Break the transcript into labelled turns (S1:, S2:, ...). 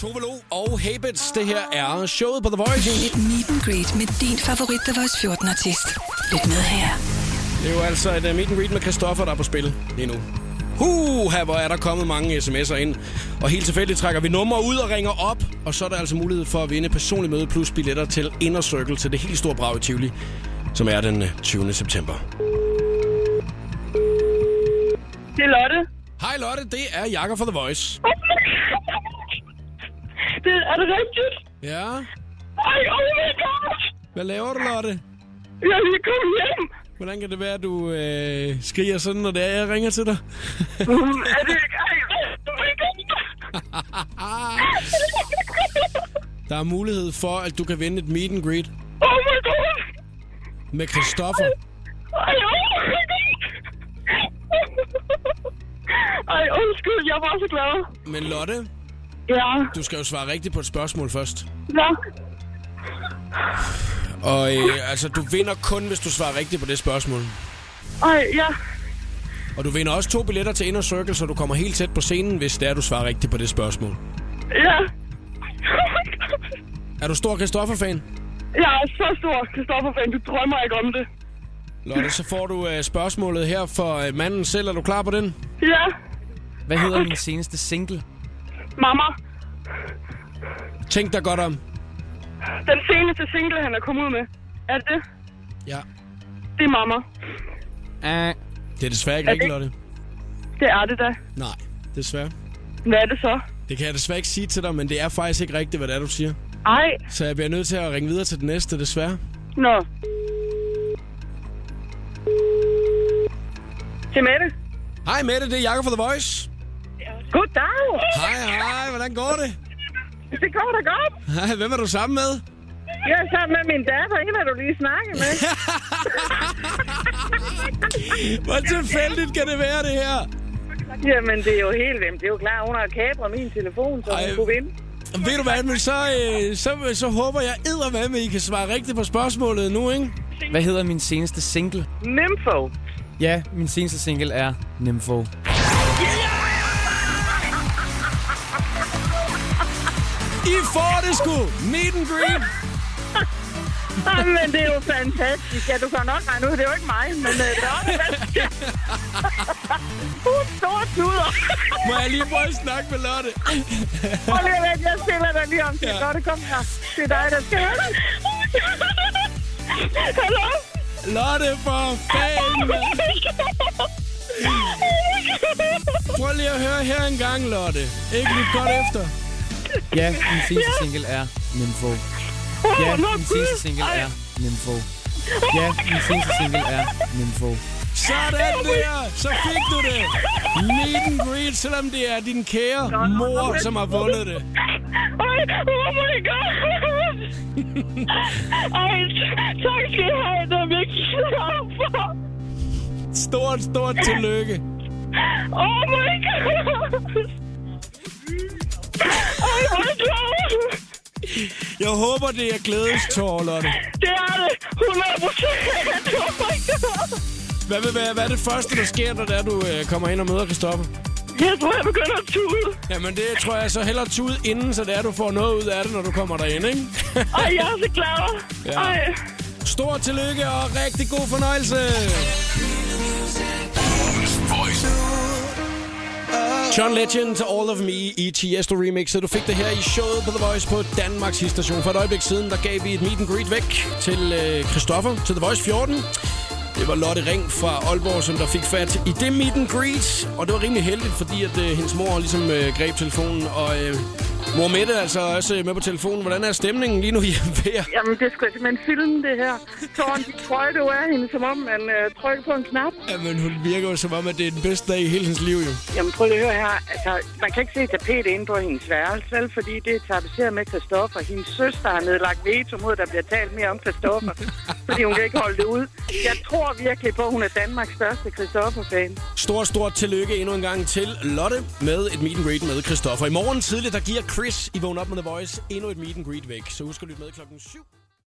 S1: Tove Lo og Habits. Det her er showet på The Voice.
S2: Vælg et meet and greet med din favorit The Voice 14-artist. Lyt med her.
S1: Det er jo altså et uh, meet and greet med Christoffer, der er på spil lige nu. Huha, hvor er der kommet mange sms'er ind. Og helt tilfældigt trækker vi numre ud og ringer op. Og så er der altså mulighed for at vinde personlig møde plus billetter til Inner Circle til det helt store brag i Tivoli, som er den øh, 20. september.
S3: Det er Lotte.
S1: Hej Lotte, det er Jakob fra The Voice.
S3: Det, er det rigtigt?
S1: Ja,
S3: Ej, oh my god!
S1: hvad laver du Lotte?
S3: Jeg er lige kommet hjem.
S1: Hvordan kan det være, at du øh, skriger sådan, når det er, jeg ringer til dig?
S3: Mm, er det ikke? Ej, oh my god!
S1: Der er mulighed for, at du kan vinde et meet and greet
S3: Oh my god!
S1: med Christoffer.
S3: Ej, oh my god! Ej, undskyld, jeg var så glad.
S1: Men Lotte,
S3: Ja,
S1: du skal jo svare rigtigt på et spørgsmål først.
S3: ja.
S1: Og øh, altså, du vinder kun, hvis du svarer rigtigt på det spørgsmål.
S3: Ej, ja.
S1: Og du vinder også to billetter til Inner Circle, så du kommer helt tæt på scenen, hvis det er, du svarer rigtigt på det spørgsmål.
S3: Ja. Oh my god.
S1: Er du stor Christoffer-fan?
S3: Jeg er så stor Christoffer-fan, du drømmer ikke om det.
S1: Lotte, så får du øh, spørgsmålet her for øh, manden selv. Er du klar på den?
S3: Ja,
S4: Hvad hedder din seneste single?
S3: mamma.
S1: Tænk dig godt om.
S3: Den seneste single, han er kommet ud med, er det det?
S1: Ja.
S3: Det er mamma.
S4: Uh,
S1: Det er desværre ikke
S3: Er
S1: rigtigt,
S3: det-
S1: Lotte.
S3: Det er det da.
S1: Nej, desværre.
S3: Hvad er det så?
S1: Det kan jeg desværre ikke sige til dig, men det er faktisk ikke rigtigt, hvad det er, du siger.
S3: Ej,
S1: Så jeg bliver nødt til at ringe videre til den næste, desværre.
S3: nå. Til Mette.
S1: Hej Mette, det er Jakob fra The Voice.
S3: Goddag.
S1: Hej, hej, hvordan går det?
S3: Det går da godt.
S1: Hej, hvem er du sammen med?
S3: Jeg er sammen med min datter, hende har du lige snakket med.
S1: Hvor tilfældigt kan det være, det her?
S3: Jamen, det er jo helt hvem. Det er jo klart, hun har kapret min telefon, så hun
S1: Ej.
S3: kunne vinde.
S1: Ved du hvad, men så, øh, så, så håber jeg eddermame, med, I kan svare rigtigt på spørgsmålet nu, ikke?
S4: hvad hedder min seneste single?
S3: Nympho.
S4: Ja, min seneste single er Nympho.
S1: I får det sgu! Meet and greet!
S3: Jamen, det er jo fantastisk. Ja, du kan nok regne ud, det er jo ikke mig, men øh, det er også fantastisk. Hun Uh, store tuder.
S1: Må jeg lige prøve at snakke med Lotte?
S3: Prøv lige at vente, jeg stiller dig lige om. Det er
S1: Ja.
S3: godt, kom her. Det er dig, der skal høre det. Hallo?
S1: Lotte, for fanden! mand. Prøv lige at høre her en gang, Lotte. Ikke lidt godt efter.
S4: Ja, min seneste single er Nympho. Ja,
S3: nå,
S4: min seneste single er Nympho. Ja, min seneste single er Nympho.
S1: Sådan der! Så fik du det! Meet and greet, selvom det er din kære mor, som har vundet det.
S3: Ej, oh my god. Ej, tak skal I have. Det er virkelig glad for.
S1: Stort, stort tillykke.
S3: Oh my god. Ej, hvor er jeg glad.
S1: Jeg håber, det er glædestår, Lotte.
S3: Det er det. 100 procent. Oh my god.
S1: Hvad, vil være, hvad er det første, der sker, når det er, du øh, kommer ind og møder Christoffer?
S3: Jeg tror, jeg begynder at tude.
S1: Jamen, det tror jeg så hellere tude inden, så det er, du får noget ud af det, når du kommer derind, ikke?
S3: Ej, jeg er så glad.
S1: Ja.
S3: Ej.
S1: Stort tillykke og rigtig god fornøjelse. John Legend til All of Me i Tiesto remixet. Du fik det her i showet på The Voice på Danmarks Station. For et øjeblik siden, der gav vi et meet and greet væk til øh, Christoffer til The Voice 14. Det var Lotte Ring fra Aalborg, som der fik fat i det meet and greet. Og det var rimelig heldigt, fordi at øh, hendes mor ligesom øh, greb telefonen. Og øh, mor Mette er altså også øh, med på telefonen. Hvordan er stemningen lige nu hjemme ved jer?
S3: Jamen, det skulle simpelthen filme, det her. Tåren, de trøjte jo af hende, som om man øh, trykker på en knap.
S1: Jamen, hun virker jo som om, at det er den bedste dag i hele hendes liv, jo.
S3: Jamen, prøv lige at høre her. Altså, man kan ikke se tapet inde på hendes værelse, vel? Fordi det er tapetseret med Christoffer. Hendes søster har nedlagt veto mod, at der bliver talt mere om Christoffer. fordi hun kan ikke holde det ud. Jeg tror virkelig på, at hun er Danmarks største Christoffer-fan.
S1: Stort, stort tillykke endnu en gang til Lotte med et meet and greet med Christoffer. I morgen tidligt, der giver Chris i Vågn Op med The Voice endnu et meet and greet væk. Så husk at lytte med klokken 7.